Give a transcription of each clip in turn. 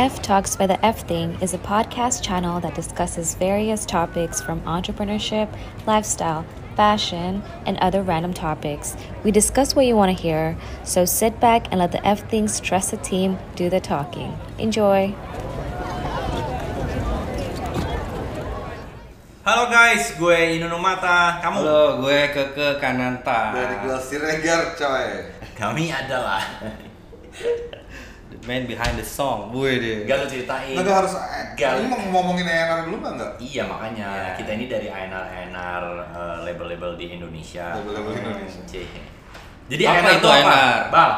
F Talks by the F Thing is a podcast channel that discusses various topics from entrepreneurship, lifestyle, fashion, and other random topics. We discuss what you want to hear, so sit back and let the F Thing stress the team do the talking. Enjoy. Halo guys, gue Inunu Mata. Kamu Halo, gue Keke Kananta. Dari gue Siregar coy Iya. kami adalah The man behind the song. Gue deh. Gak lu ceritain. Nggak harus eh, Gal. Ini mau ngomongin ANR dulu nggak nggak? Iya makanya Iya. kita ini dari ANR ANR eh, label-label di Indonesia. Label-label Indonesia. Cih. Jadi Apa ANR itu itu apa? ANR? Bal.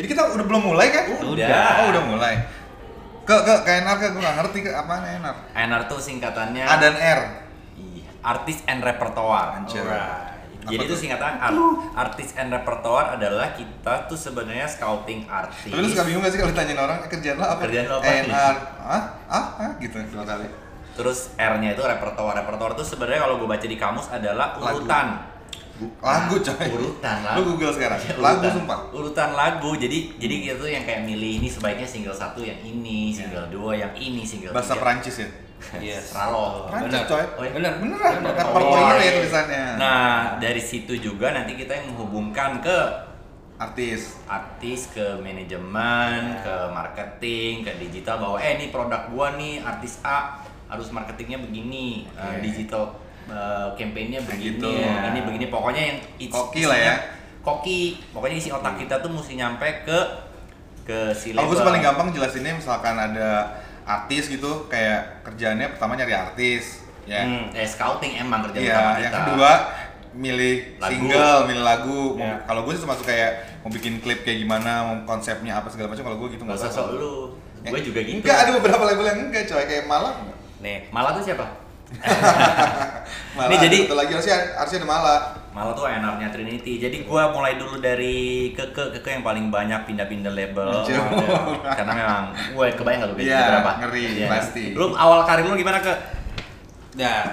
Ini kita udah belum mulai kan? Udah. Oh udah mulai Ke, ke, ke ANR ke, gue nggak ngerti ke apaan ANR ANR tuh singkatannya A dan R Iya, artis and repertoire. Anjir. Alright. Apa Jadi itu tuh? singkatan art, artis and repertoire adalah kita tuh sebenarnya scouting artis. Tapi lu suka bingung gak sih kalau ditanyain orang, eh, kerjaan lo apa? Kerjaan lo apa? ANR Hah? Hah? Hah? Gitu dua kali Terus R-nya itu repertoire. Repertoire itu sebenarnya kalau gue baca di kamus adalah Lagu. urutan. Lagu coy Ah, Urutan lagu. Lu google sekarang, Urutan. lagu sumpah Urutan lagu. Jadi jadi kita tuh yang kayak milih ini sebaiknya single satu yang ini, single dua yang ini, Iya. single Bahasa tiga. Perancis ya? Yes. Ralo. Perancis Bener. coy Iya. Oh, iya. Bener. Beneran, Bener. repertoire iya. ya tulisannya Nah, dari situ juga nanti kita yang menghubungkan ke Artis artis ke Iya. manajemen, ke marketing, ke digital bahwa eh ini produk gua nih artis A harus marketingnya begini, eh, Oke. digital eh, campaign-nya begini, gitu. ini begini pokoknya yang it's- Koki lah ya. isinya- Koki, pokoknya isi otak kita tuh mesti nyampe ke ke si Kalau gue label. paling gampang jelasinnya misalkan ada artis gitu kayak kerjaannya pertama nyari artis ya. Hmm, eh, scouting emang kerja Iya, utama yang kita. kedua milih Lagu. single, milih lagu. Mau- Iya. Kalau gue sih termasuk kayak mau bikin klip kayak gimana, mau konsepnya apa segala macam. Kalau gue gitu Gak nggak usah sok lu. Eh, Gue juga gitu. Enggak, ada beberapa label yang enggak coy, kayak malah. Nih. Malah tuh siapa? Malah Nih, ada jadi- satu lagi harusnya harusnya ada malah. Malah tuh enaknya Trinity. Jadi gua mulai dulu dari Keke, Keke yang paling banyak pindah-pindah label. Anjir. Karena memang gue kebayang gak lu gaji Iya, berapa? ngeri, Iya. pasti. Lu awal karir lu gimana, Ke? Nah,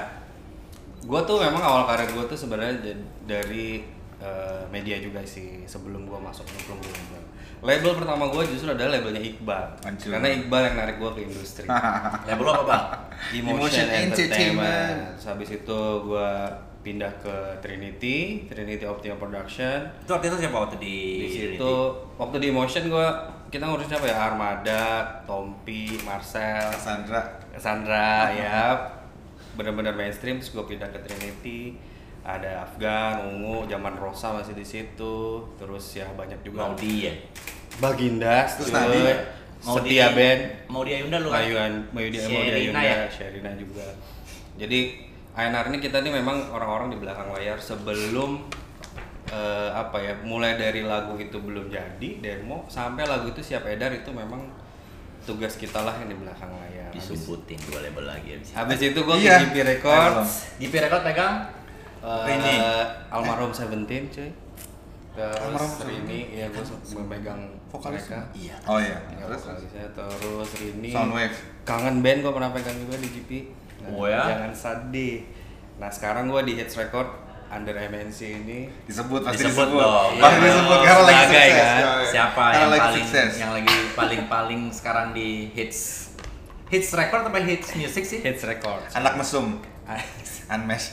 gue tuh memang awal karir gue tuh sebenarnya da- dari eh, media juga sih sebelum gue masuk ke belum label. Label pertama gue justru adalah labelnya Iqbal. Hancur. Karena Iqbal yang narik gue ke industri. Label lu apa, Bang? Emotion, Emotion Entertainment. Entertainment. Terus habis itu gue pindah ke Trinity, Trinity Optima Production. Itu artinya siapa waktu di di situ Trinity? waktu di motion gua kita ngurusin apa ya armada tompi marcel Sandra. sandra ya bener-bener mainstream terus gue pindah ke trinity ada afgan ungu zaman rosa masih di situ terus ya banyak juga Maudi ya? baginda Terus Stuart, Nadi. Maudi- setia band Maudi Ayunda lu kan? Mayuan, Mayudi Mayudi Ayunda, Sherina ya? Sherina juga. Jadi INR ini kita nih memang orang-orang di belakang layar sebelum eh, apa ya, mulai dari lagu itu belum jadi demo sampai lagu itu siap edar itu memang tugas kita lah yang di belakang layar. Habis, Disumbutin dua label lagi abis itu. habis itu gue Iya. ke GP Records, GP Record pegang? eh, Rini. Almarhum Seventeen cuy. Almarhum Kan Terus Rini, ya gue memegang Vokalis. mereka. Iya. Oh iya. Ya, Terus vokalisnya. terus Rini. Soundwave. Kangen band gua pernah pegang juga di GP. Oh ya? Jangan sedih. Nah, sekarang gua di Hits Record under MNC ini disebut pasti Disebut disebut. dong. Pasti Iya. disebut karena lagi Sebagai, sukses. kan? coy. Siapa Karena yang lagi paling sukses. yang lagi paling-paling sekarang di hits hits record apa hits music sih? Hits Record. Anak mesum. Unmesh.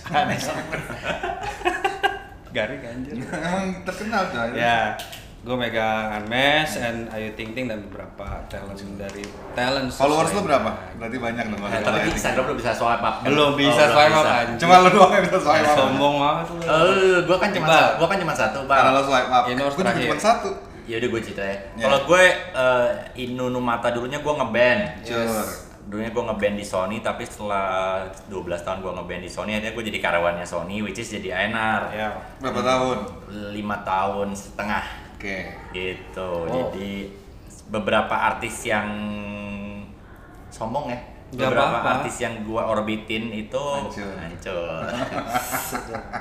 Garing anjir. Emang terkenal coy. ya, gua megang Unmesh and Ayu Ting Ting dan beberapa talent dari talent Followers lu sesuai. berapa? Berarti banyak dong. Nah, tapi di Instagram belum bisa swipe up. Belum bisa Oh, swipe up bisa. anjir. gitu. Eh, Cuma lu doang yang bisa swipe up. sombong banget lu. Eh, gua kan cuma Iqbal. gua kan cuma satu, Karena lo Bang. swipe up. Ini Gue harus juga terakhir. cuma satu. Ya udah gua cerita ya. Ya. Kalau gue eh, Inunu Mata dulunya gua ngeband. Yes. Dulunya gua ngeband di Sony, tapi setelah 12 tahun gua ngeband di Sony, akhirnya gua jadi karyawannya Sony, which is jadi ANR. Ya. Berapa tahun? 5 tahun setengah. Oke. Eh. Wow. gitu jadi beberapa artis yang sombong ya Nggak beberapa apa-apa. artis yang gua orbitin itu Hancur. hancur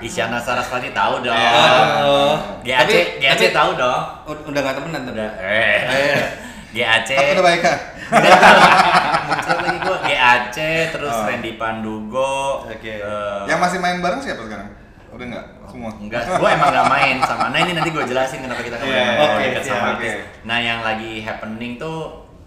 Isyana Saraswati tahu dong Halo. GAC GAC Iya. tapi- tahu dong ud- udah gak temenan tuh. udah eh GAC Tapi udah baik kan? muncul lagi gua GAC terus Oh. Randy Pandugo Oke. eh, Yang masih main bareng siapa sekarang? Udah enggak? Semua. Enggak, gue emang gak main sama. Nah ini nanti gue jelasin kenapa kita kemarin Iya, nggak oke, dekat sama siap, artis. oke. Nah yang lagi happening tuh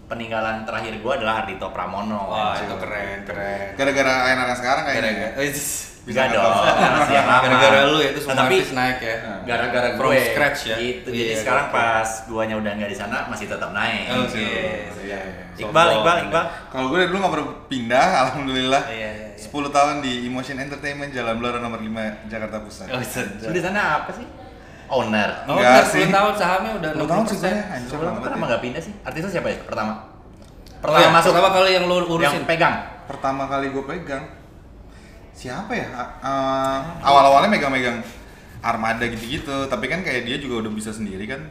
peninggalan terakhir gue adalah Ardito Pramono. kan. Wah, Anjir. itu keren, keren. Gara-gara Aenar yang sekarang kayaknya. ya? Gara-gara- eh, zzz. Bisa Enggak nggak dong, tahu. karena sih yang lama. Gara-gara lu ya itu Nah, semua tapi artis naik ya. gara-gara gue. From scratch ya. Gitu. Iya, Jadi iya, sekarang oke. Oh, pas guanya udah nggak di sana masih tetap naik. Oke. Iya, iya. Iqbal, Sombong. Iqbal, Iqbal. Kalau gue dari dulu nggak pernah pindah, alhamdulillah. Iya, iya, iya. 10 tahun di Emotion Entertainment Jalan Blora nomor 5 Jakarta Pusat. Oh, sedap. Lu di sana apa sih? Owner. Oh, udah Enggak 10 sih. tahun sahamnya udah 10 60%. tahun sebenarnya hancur Sebelum banget. kenapa ya. nggak pindah sih? Artis lu siapa ya? Pertama. Pertama, Pertama Oh, masuk. iya. pertama kali yang lu urusin. Iya, Yang pegang. Pertama kali gue pegang siapa ya? A- eh, awal-awalnya megang-megang armada gitu-gitu, tapi kan kayak dia juga udah bisa sendiri kan.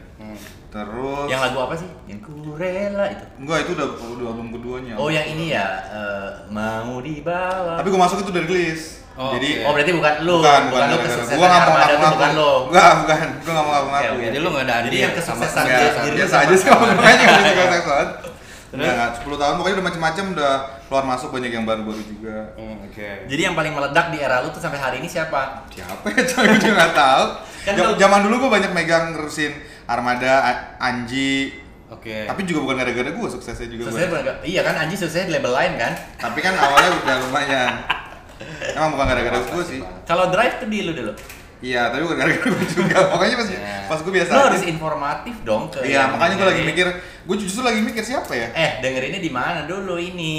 Terus Yang lagu apa sih? Yang ku rela itu. Enggak, itu udah, udah album keduanya. Oh yang ini ya, eh, mau dibawa. Tapi gue masuk itu dari list. Oh, Jadi oh berarti bukan lu, bukan, bukan, lu bukan, kesuksesan Gua nggak mau Armada ngaku tuh bukan lu. Ya, Enggak, bukan. Gue nggak mau ngaku ngaku. Oke, Jadi lu nggak ada Jadi andil yang ya sama kesuksesan sama- dia Enggak, sendiri biasa sama aja sih kalau Armada. makanya udah suka seksual. Enggak, enggak. 10 tahun pokoknya udah macem-macem udah keluar masuk banyak yang baru-baru juga. Hmm, Oke. Jadi yang paling meledak di era lu tuh sampai hari ini siapa? Siapa ya? Coy, gue juga nggak tahu. Kan Ja- lu- Zaman dulu gue banyak megang ngurusin Armada, A- Anji. Oke. Tapi juga bukan gara-gara gue suksesnya juga. Eh. Suksesnya banyak. bukan iya kan Anji suksesnya di label lain kan? Tapi kan awalnya udah lumayan. Emang bukan gara-gara gue sih. Kalau drive tuh di lu dulu. Iya, tapi bukan gara-gara gue juga. Pokoknya pas, Ya. pas gue biasa. Iya. Lu aja. harus ya. informatif dong ke. Iya, yang makanya gue lagi dengerin. mikir, gue justru lagi mikir siapa ya? Eh dengerinnya di mana dulu ini?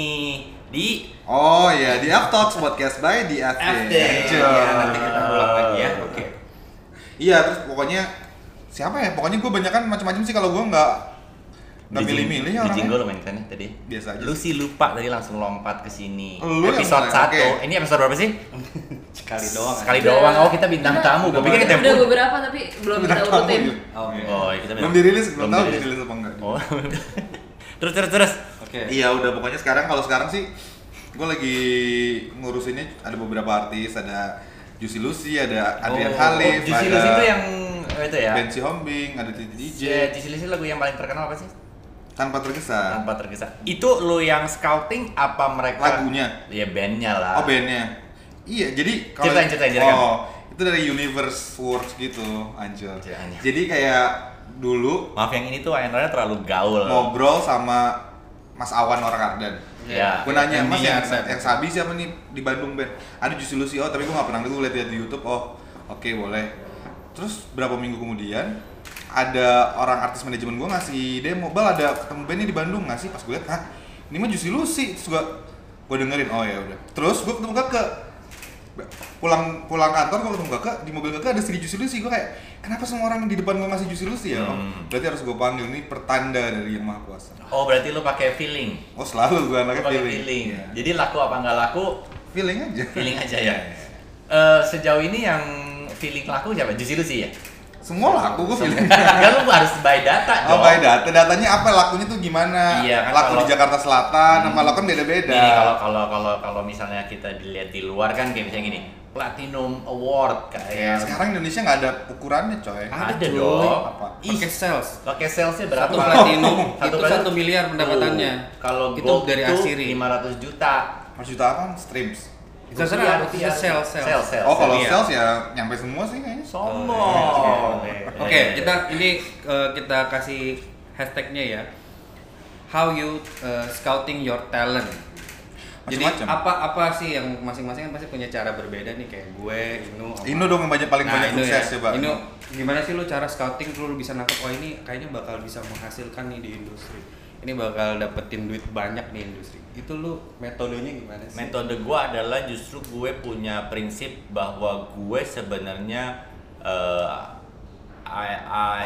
Di Oh iya, di F Talks Podcast by di FD. FD. Anjir. Iya, nanti kita ulang lagi ya. Oke. Iya, terus pokoknya siapa ya? Pokoknya gue banyak kan macam-macam sih kalau gue nggak nggak di jing- milih-milih ya Di orangnya. jingle lu main kan ya tadi. Biasa aja Oh, Lu sih lupa tadi langsung lompat ke sini. Lu yang Episode mulai, 1. oke. Ini episode berapa sih? Sekali doang. Sekali aja. Udah. doang. Oh, kita bintang Udah. tamu. Gue pikir kita Udah beberapa tapi belum Udah kita kamu urutin. ya? Oh, iya. Oh, kita Belum dirilis, belum tahu dirilis. dirilis apa enggak. Oh. terus terus terus. Oke. Iya, udah pokoknya sekarang kalau sekarang sih gue lagi ngurusinnya ada beberapa artis, ada Juicy Lucy, ada Adrian Oh, Khalif, Oh, Juicy ada Lucy itu yang eh, itu ya. Bensi Hombing, ada Titi DJ, Ya, Juicy Lucy lagu yang paling terkenal apa sih? tanpa tergesa. Tanpa tergesa. Itu lu yang scouting apa mereka? Lagunya? Iya bandnya Oh lah. bandnya. Iya jadi Ceritain, ceritain, ceritain. Oh itu dari Universe Works gitu anjir. Anjir, anjir. Jadi kayak dulu Maaf yang ini tuh Ainara terlalu gaul. ngobrol sama Mas Awan orang Ardan. Ya. Gue nanya Mas Endingnya yang, Ardan." yang sabi siapa nih di Bandung band? Ada Juicy Lucy oh tapi gue nggak pernah dulu lihat lihat di YouTube oh oke boleh. Terus berapa minggu kemudian ada orang artis manajemen gue ngasih demo bal ada ketemu bandnya di Bandung ngasih pas gue liat hah ini mah Juicy Lucy terus gue gue dengerin oh ya udah terus gue ketemu kakek pulang pulang kantor gue ketemu kakak di mobil kakak ada segi juicy lucy gue kayak kenapa semua orang di depan gue ngasih juicy lucy ya Om?" Hmm. berarti harus gue panggil ini pertanda dari yang maha kuasa Oh, berarti lu pakai feeling. oh selalu gue anaknya pakai feeling feeling. Iya. Jadi laku apa nggak laku, feeling aja feeling aja ya. Iya. Eh, sejauh ini yang feeling laku siapa? Juicy Lucy ya? semua laku gue feeling Kan lu harus by data dong. Oh, by data. Datanya apa lakunya tuh gimana? Iya, kan laku kalau- di Jakarta Selatan, sama laku kan beda-beda. Gini, kalau kalau kalau kalau misalnya kita dilihat di luar kan kayak misalnya gini, Platinum Award kayak Iya, gitu. Sekarang Indonesia nggak ada ukurannya, coy. ada, Ada, dong. coy. Apa? Ih, Pakai sales. pakai salesnya berapa? Satu platinum itu platinum. satu miliar pendapatannya. Tuh, Kalau itu gold dari tuh Asiri. 500 juta. Mas juta apa? Streams. Itu sebenarnya apa? Rupiah, Itu rupiah. sales, sales. Sales, sales. Oh, kalau iya. sales ya nyampe semua sih kayaknya. sombong. iya. Oke, kita ini eh, kita kasih hashtagnya ya. How you eh, scouting your talent. Jadi Macam-macam. apa apa sih yang masing-masing kan pasti punya cara berbeda nih kayak gue, Inu, apa. Ino dong yang banyak Nah, paling banyak Inu ya. ya. sukses coba. Inu, gimana sih lu cara scouting lu bisa nangkep oh ini kayaknya bakal bisa menghasilkan nih di industri. Ini bakal dapetin duit banyak di industri. Itu lu metodenya gimana sih? Metode gue adalah justru gue punya prinsip bahwa gue sebenarnya eh, I,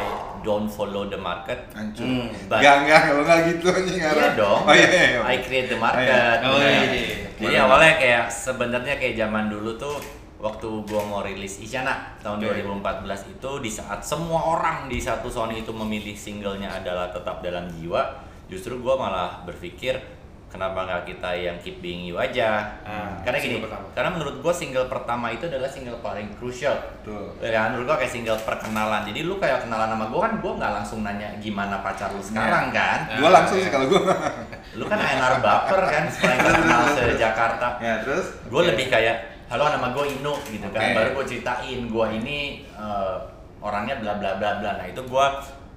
I don't follow the market. Hancur. Hmm, but- Enggak, enggak, kalau enggak gitu anjing Iya ngarang. dong. Oh iya, iya. iya. I create the Oh, iya. market. Oh, iya, bener. iya, iya. Jadi Bener. awalnya kayak sebenarnya kayak zaman dulu tuh waktu gua mau rilis Isyana tahun Oke. 2014 itu di saat semua orang di satu Sony itu memilih singlenya adalah tetap dalam jiwa, justru gua malah berpikir kenapa nggak kita yang keep being you aja? Ah, karena gini, single pertama. karena menurut gua single pertama itu adalah single paling crucial. Betul. Ya, menurut gua kayak single perkenalan. Jadi lu kayak kenalan sama gua kan gua nggak langsung nanya gimana pacar lu sekarang Iya. kan? Gua langsung sih kalau gua. lu kan ANR baper kan selain terkenal se Jakarta ya, terus gue lebih kayak halo nama gue Ino gitu kan Oke. baru gue ceritain gue ini eh, orangnya bla bla bla bla nah itu gue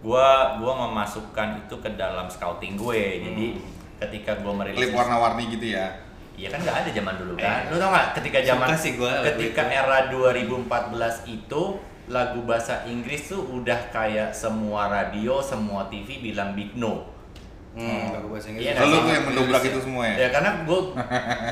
gua gua memasukkan itu ke dalam scouting gue jadi Hmm. ketika gua merilis klip warna-warni gitu ya Iya kan nggak ada zaman dulu Eh, kan. Lu tau nggak ketika zaman suka sih gua lagu ketika itu. era 2014 itu lagu bahasa Inggris tuh udah kayak semua radio, semua TV bilang big no. Hmm, lagu bahasa Inggris. Iya, lalu sama tuh yang mendobrak itu semua ya Ya karena gue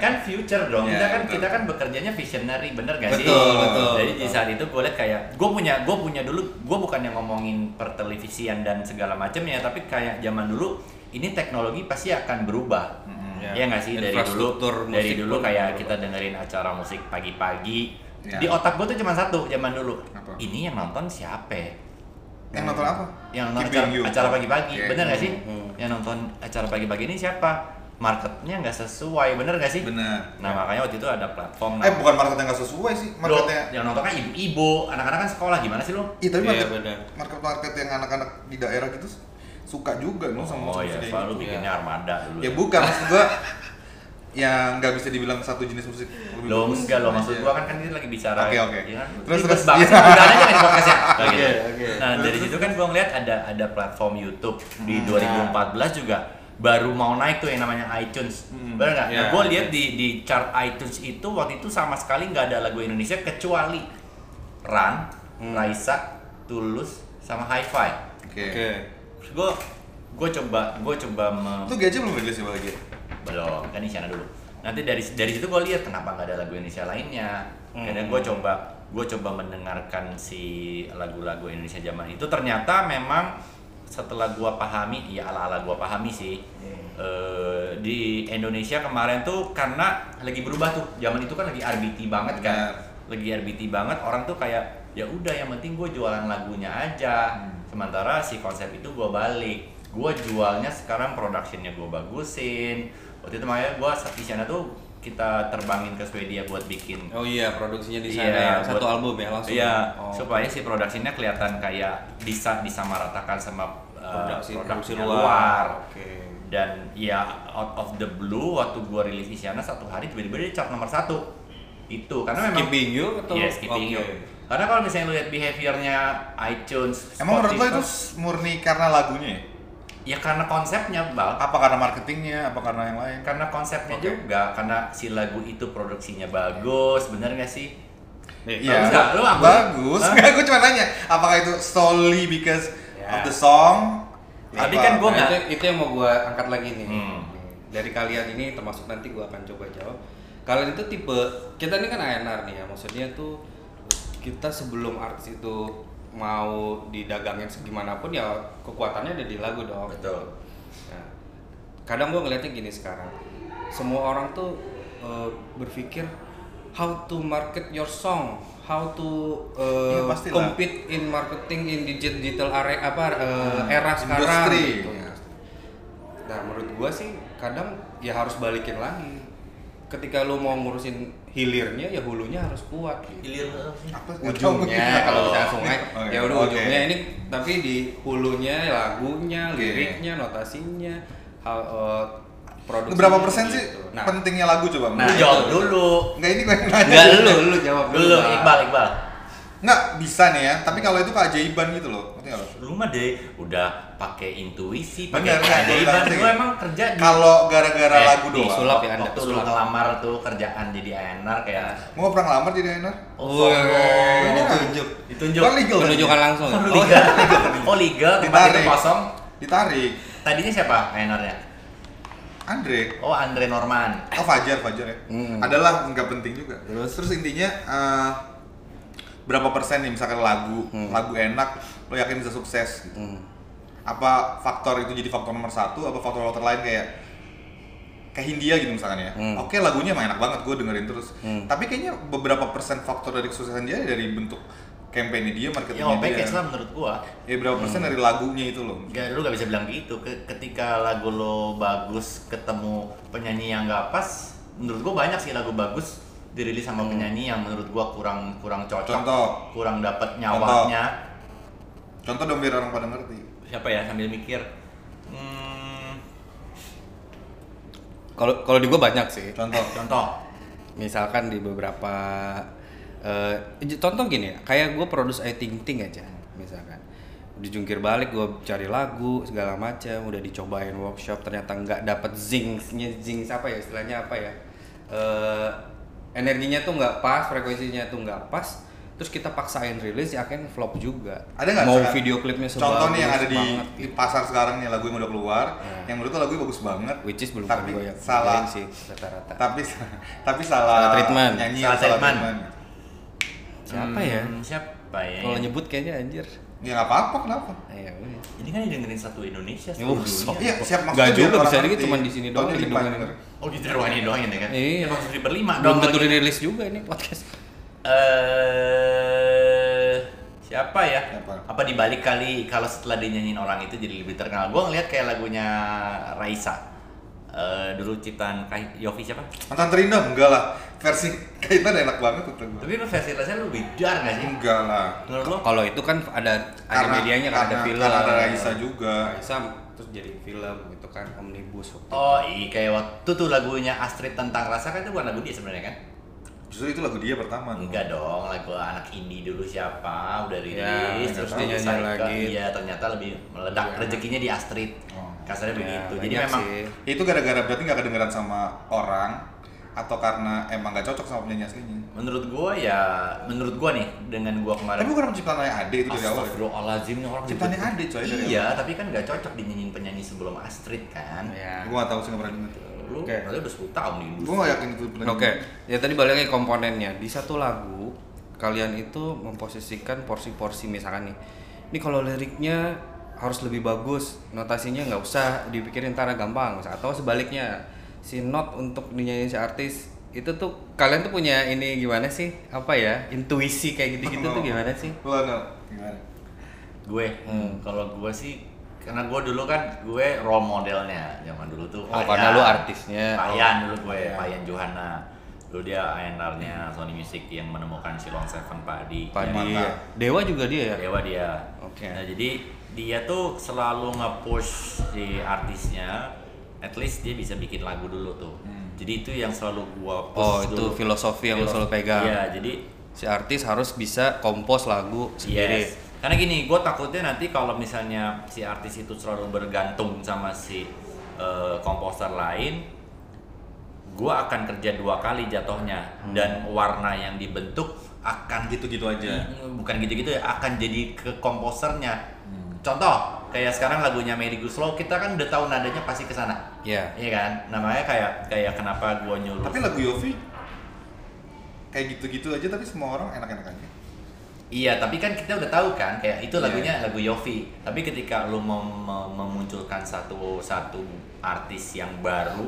kan future dong. Iya, kita kan betul. kita kan bekerjanya visionary bener gak sih? Betul, betul, Jadi di betul. saat itu gue liat kayak gue punya gue punya dulu gue bukan yang ngomongin pertelevisian dan segala macamnya tapi kayak zaman dulu ini teknologi pasti akan berubah. Iya. Iya nggak sih dari dulu Infrastruktur dari musik dulu pun kayak berubah. kita dengerin acara musik pagi-pagi Iya. di otak gue tuh cuma satu zaman dulu. Apa? Ini yang nonton siapa? ya? yang nonton apa yang Keep nonton acara, Being You. acara pagi-pagi, Iya. bener gak sih? Hmm. Yang nonton acara pagi-pagi ini siapa? Marketnya nggak sesuai, bener gak sih? bener Nah makanya waktu itu ada platform. eh namanya- bukan market yang gak sesuai sih Loh, marketnya yang nonton kan ibu-ibu, anak-anak kan sekolah gimana sih lo? Iya tapi Iya, market, benar. market-market yang anak-anak di daerah gitu suka juga no sama Oh musik iya, kayak selalu gitu. bikinnya armada dulu. Ya bukan maksud gua yang nggak bisa dibilang satu jenis musik. lebih lo bagus enggak lo aja. maksud gua kan kan kita lagi bicara Iya. Oke, oke. ya kan? Terus, Terus terus. terus banget sih, udah aja di podcast ya. Nah, Oke, gitu. oke. Nah, dari situ kan gua ngeliat ada ada platform YouTube di Hmm. 2014 juga baru mau naik tuh yang namanya iTunes. Benar enggak? Nah, Ya. gua lihat di di chart iTunes itu waktu itu sama sekali nggak ada lagu Indonesia kecuali Run, Hmm. Raisa, Tulus sama Hi-Fi. Oke. Oke. Terus gua gua coba gua coba me- Itu gaji belum rilis ya lagi. belum kan di sana dulu nanti dari dari situ gue lihat kenapa nggak ada lagu Indonesia lainnya Hmm. karena gue coba gue coba mendengarkan si lagu-lagu Indonesia zaman itu ternyata memang setelah gue pahami ya ala ala gue pahami sih Eh, di Indonesia kemarin tuh karena lagi berubah tuh zaman itu kan lagi RBT banget Benar. kan lagi RBT banget orang tuh kayak ya udah yang penting gue jualan lagunya aja Hmm. sementara si konsep itu gue balik gue jualnya sekarang productionnya gue bagusin waktu itu makanya gue di sana tuh kita terbangin ke Swedia buat bikin Oh iya, produksinya di sana. Iya, ya. Satu buat- album ya langsung. Iya, Oh. supaya si productionnya kelihatan kayak bisa disamaratakan sama uh, produksi, produksi produknya luar. luar Oke. dan ya out of the blue waktu gua rilis Isyana satu hari tiba-tiba dia chart nomor satu itu karena memang Skipping you atau Iya, skipping Oke. you. Karena kalau misalnya lu lihat behaviornya iTunes, Emang menurut lo Spotify, itu murni karena lagunya? ya? ya karena konsepnya bal, Apa karena marketingnya? Apa karena yang lain? karena konsepnya Oke. juga, karena si lagu itu produksinya bagus, bener gak sih? Nih, Bagus nggak? Lu aku- Iya. bagus. Hah? Enggak, gue cuma nanya, apakah itu solely because Ya. of the song? Tadi Apa- kan gua- Nah, nggak- itu, itu yang mau gue angkat lagi nih. Hmm. Dari kalian ini termasuk nanti gue akan coba jawab. Kalian itu tipe kita ini kan ANR nih ya. Maksudnya tuh kita sebelum artis itu mau didagangin segimanapun ya kekuatannya ada di lagu dong. Betul. Nah, kadang gue ngeliatnya gini sekarang. Semua orang tuh eh, berpikir how to market your song, how to eh, Iya, Ya, pastilah. compete in marketing in digit- digital area apa eh, era sekarang Industri. Iya. gitu. Nah, menurut gua sih kadang ya harus balikin lagi. Ketika lu mau ngurusin hilirnya ya hulunya harus kuat gitu. Apa? Ujungnya kalau misalnya sungai Oke, ya udah Oh, iya. oke. ujungnya ini tapi di hulunya lagunya, Oke. liriknya, notasinya, hal eh, produksinya Berapa persen sih gitu. Nah, pentingnya lagu coba? Lu Nah, jawab itu. dulu. Enggak ini gue yang nanya. enggak lu lu jawab dulu. Dulu, Bang. Iqbal, Iqbal. Nggak, bisa nih ya, tapi kalau itu keajaiban gitu loh. Ngerti nggak lo? Lu mah deh udah pakai intuisi, pakai Bener, nggak, gua keajaiban. ngerti. Lu emang kerja di Kalau gara-gara Eh, lagu di doang. sulap. Sulap ya, Anda, waktu lu sulap. ngelamar tuh kerjaan jadi ANR kayak Mau pernah ngelamar jadi enak? Oh, iya, sombong. iya, ditunjuk. ditunjuk. Kan legal. Penunjukan langsung. Oh, liga. Oh, liga tempat itu iya. Ditarik. kosong. Ditarik. Tadinya siapa ANR-nya? Andre. Oh, Andre Norman. Oh Fajar, Fajar ya. Hmm. Adalah nggak penting juga. Terus? intinya eh, berapa persen nih misalkan lagu, Hmm. lagu enak, lo yakin bisa sukses gitu. Hmm. Apa faktor itu jadi faktor nomor satu? Apa faktor-faktor lain kayak kayak Hindia gitu misalkan ya. Hmm. Oke lagunya emang enak banget, gue dengerin terus. Hmm. Tapi kayaknya beberapa persen faktor dari kesuksesan dia dari bentuk kampanye dia, Ya, marketingnya dia. OPK lah menurut gua. Ya berapa Hmm. persen dari lagunya itu loh. Gak, lu gak bisa bilang gitu. Ke- Ketika lagu lo bagus ketemu penyanyi yang gak pas, menurut gua banyak sih lagu bagus dirilis sama penyanyi yang menurut gua kurang kurang cocok, Hmm. Contoh. kurang dapat nyawanya. Contoh dong biar orang pada ngerti. Siapa ya sambil mikir. Hmm, Kalau kalau di gua banyak sih. Contoh. contoh. misalkan di beberapa eh, j- contoh gini ya kayak gue produce I Think Think aja misalkan dijungkir balik gue cari lagu segala macam udah dicobain workshop ternyata nggak dapet zingsnya zings apa ya istilahnya apa ya Eh, energinya tuh nggak pas frekuensinya tuh nggak pas terus kita paksain rilis ya akhirnya flop juga ada nggak mau sekarang- video klipnya sebagus contoh nih yang ada di, banget di gitu. Iya. pasar sekarang nih lagu yang udah keluar yang menurut lo lagu bagus banget which is belum tapi gue yang salah kerjain sih rata-rata tapi tapi salah, Salah treatment. nyanyi Salah atau salah treatment. treatment siapa ya Hmm, siapa ya kalau nyebut kayaknya anjir ya nggak apa-apa kenapa ya udah ini kan dengerin satu Indonesia Ya, satu sok. dunia iya siap maksudnya Nggak biar juga, orang bisa jadi ngerti. cuma di sini Tahun doang yang depan didengerin. denger. oh gitu ruangnya doang ya kan Iya. ya maksudnya berlima belum dong tentu lagi. rilis juga ini podcast eh siapa ya? Siapa? Apa dibalik kali kalau setelah dia nyanyiin orang itu jadi lebih terkenal? Gue ngeliat kayak lagunya Raisa. Eh dulu ciptaan Kai- Yofi siapa? mantan terindah enggak lah versi kaitan enak banget kata gua. Tapi lu versi Raisa lebih dar gak sih? enggak lah Menurut lo? kalau itu kan ada ada medianya kan ada karena- film karena ada Raisa juga Raisa terus jadi film gitu kan omnibus waktu Oh iya kayak waktu tuh lagunya Astrid tentang rasa kan itu bukan lagu dia sebenarnya kan? justru itu lagu dia pertama Enggak dong, lagu anak indie dulu siapa udah rilis Ya, terus nggak tahu. dia Dinyanyi lagi. lagi. Iya ternyata lebih meledak Iya. rezekinya di Astrid. Oh. Ya, Kasarnya begitu. Jadi banyak memang sih. itu gara-gara berarti nggak kedengeran sama orang atau karena emang nggak cocok sama penyanyi aslinya menurut gua ya menurut gua nih dengan gua kemarin tapi bukan ciptaan Ade itu dari awal ya? Astagfirullahzim nih orang Ciptaannya ribut. Ade, coy, dari Iya, tapi kan nggak cocok dinyanyiin penyanyi sebelum Astrid kan. ya gua nggak tahu sih nggak pernah denger Lu Oke. berarti udah 10 tahun di gua industri. nggak yakin itu pernah oke ya tadi balik lagi komponennya di satu lagu kalian itu memposisikan porsi-porsi misalkan nih ini kalau liriknya harus lebih bagus notasinya nggak usah dipikirin ntar gampang atau sebaliknya si not untuk dinyanyiin si artis itu tuh kalian tuh punya ini gimana sih apa ya intuisi kayak gitu-gitu tuh gimana sih lo Nel, gimana Gue hmm, kalau gua sih karena gua dulu kan gue role modelnya zaman dulu tuh. Oh, karena lu artisnya. Payan dulu gue, Payan Johana. Dulu dia A&R-nya Sony Music yang menemukan Silong Seven Padi. Padi Mantap. Dewa juga dia ya. Dewa dia. Oke. Nah, jadi dia tuh selalu nge-push si artisnya at least dia bisa bikin lagu dulu tuh. Jadi itu yang selalu gua push Hmm. Oh, itu dulu. filosofi yang lu selalu Filosofi. pegang. Iya, jadi Si artis harus bisa kompos lagu sendiri. yes. Karena gini, gue takutnya nanti kalau misalnya si artis itu selalu bergantung sama si eh, komposer lain, gue akan kerja dua kali jatuhnya dan warna yang dibentuk akan gitu-gitu aja bukan gitu-gitu ya akan jadi ke komposernya contoh kayak sekarang lagunya Melly Guslow kita kan udah tahu nadanya pasti ke sana Iya. iya kan namanya kayak kayak kenapa gua nyuruh tapi lagu Yofi kayak gitu-gitu aja tapi semua orang enak-enak aja iya tapi kan kita udah tahu kan kayak Iya. itu lagunya lagu Yofi tapi ketika lu mem- mem- memunculkan satu satu artis yang baru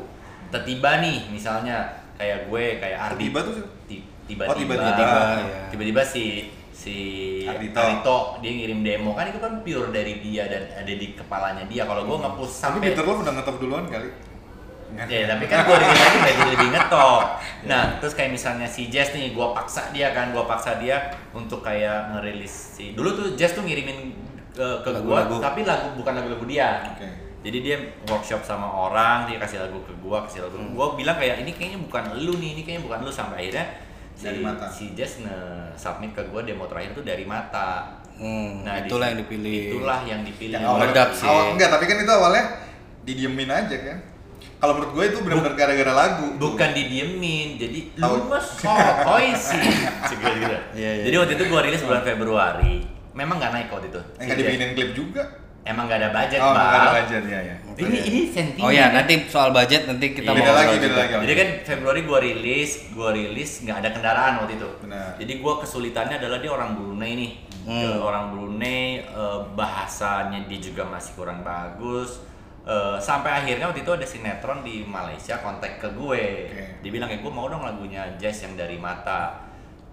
tiba-tiba nih misalnya kayak gue kayak Ardi Tiba tuh siapa? Ti- Oh, tiba-tiba tiba-tiba, ya. tiba-tiba si si Ardito. Arito dia ngirim demo kan itu kan pure dari dia dan ada di kepalanya dia kalau gue nge-push Iya. tapi sampai Peter Love udah ngetop duluan kali Ya, Iya. tapi kan gue dengerin lagi kayak jadi lebih ngetok. Iya. Nah, terus kayak misalnya si Jazz nih, gue paksa dia kan, gue paksa dia untuk kayak ngerilis si. Dulu tuh Jazz tuh ngirimin ke, ke gue, Lagu-lagu. tapi lagu bukan lagu-lagu dia. Oke. Jadi dia workshop sama orang, dia kasih lagu ke gue, kasih lagu. Hmm. Gue bilang kayak ini kayaknya bukan lu nih, ini kayaknya bukan lu sampai akhirnya si, Dari mata. si Jazz nge-submit ke gue demo terakhir tuh dari mata. Hmm, Nah, di- itulah yang dipilih. Itulah yang dipilih. yang awal- meledak sih. awal- enggak tapi kan itu awalnya didiemin aja kan kalau menurut gue itu benar-benar gara-gara lagu bukan didiemin jadi lu Tahu. mah sokoy sih Segala gitu. Iya, iya. jadi waktu itu gua rilis bulan Februari memang nggak naik waktu itu enggak Si dibikinin klip juga Jack. emang nggak ada budget oh Bang. enggak ada aja ya ya ini ini sentimen Oh ya, nanti soal budget nanti kita Iya. mau Beda lagi, ngobrol beda juga. lagi. jadi kan Februari gua rilis gua rilis nggak ada kendaraan waktu itu Benar. jadi gua kesulitannya adalah dia orang Brunei nih Hmm. Dia orang Brunei eh, bahasanya dia juga masih kurang bagus Eh, sampai akhirnya waktu itu ada sinetron di Malaysia kontak ke gue Oke. dibilang kayak gue mau dong lagunya jazz yang dari mata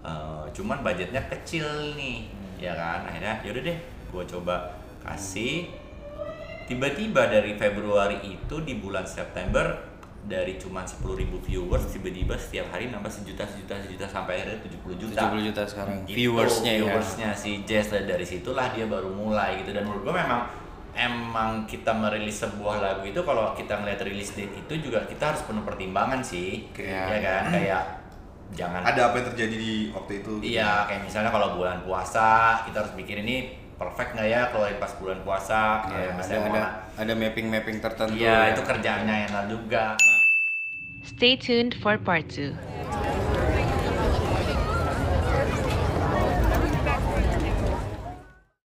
Eh, cuman budgetnya kecil nih ya kan akhirnya yaudah deh gue coba kasih tiba-tiba dari Februari itu di bulan September dari cuman 10.000 viewers tiba-tiba setiap hari nambah sejuta sejuta sejuta sampai akhirnya 70 juta 70 juta sekarang. Gitu, Viewersnya ya. viewersnya si Jazz dan dari situlah dia baru mulai gitu dan menurut gue memang emang kita merilis sebuah lagu itu kalau kita ngeliat rilis date itu juga kita harus penuh pertimbangan sih Oke. ya kan kayak jangan ada apa yang terjadi di waktu itu Iya, kayak misalnya kalau bulan puasa kita harus bikin ini perfect nggak ya keluarin pas bulan Ya, puasa keluarin pas ada saya mau ada na- ada mapping mapping tertentu. iya ya. itu kerjaannya yang juga Stay tuned for part 2.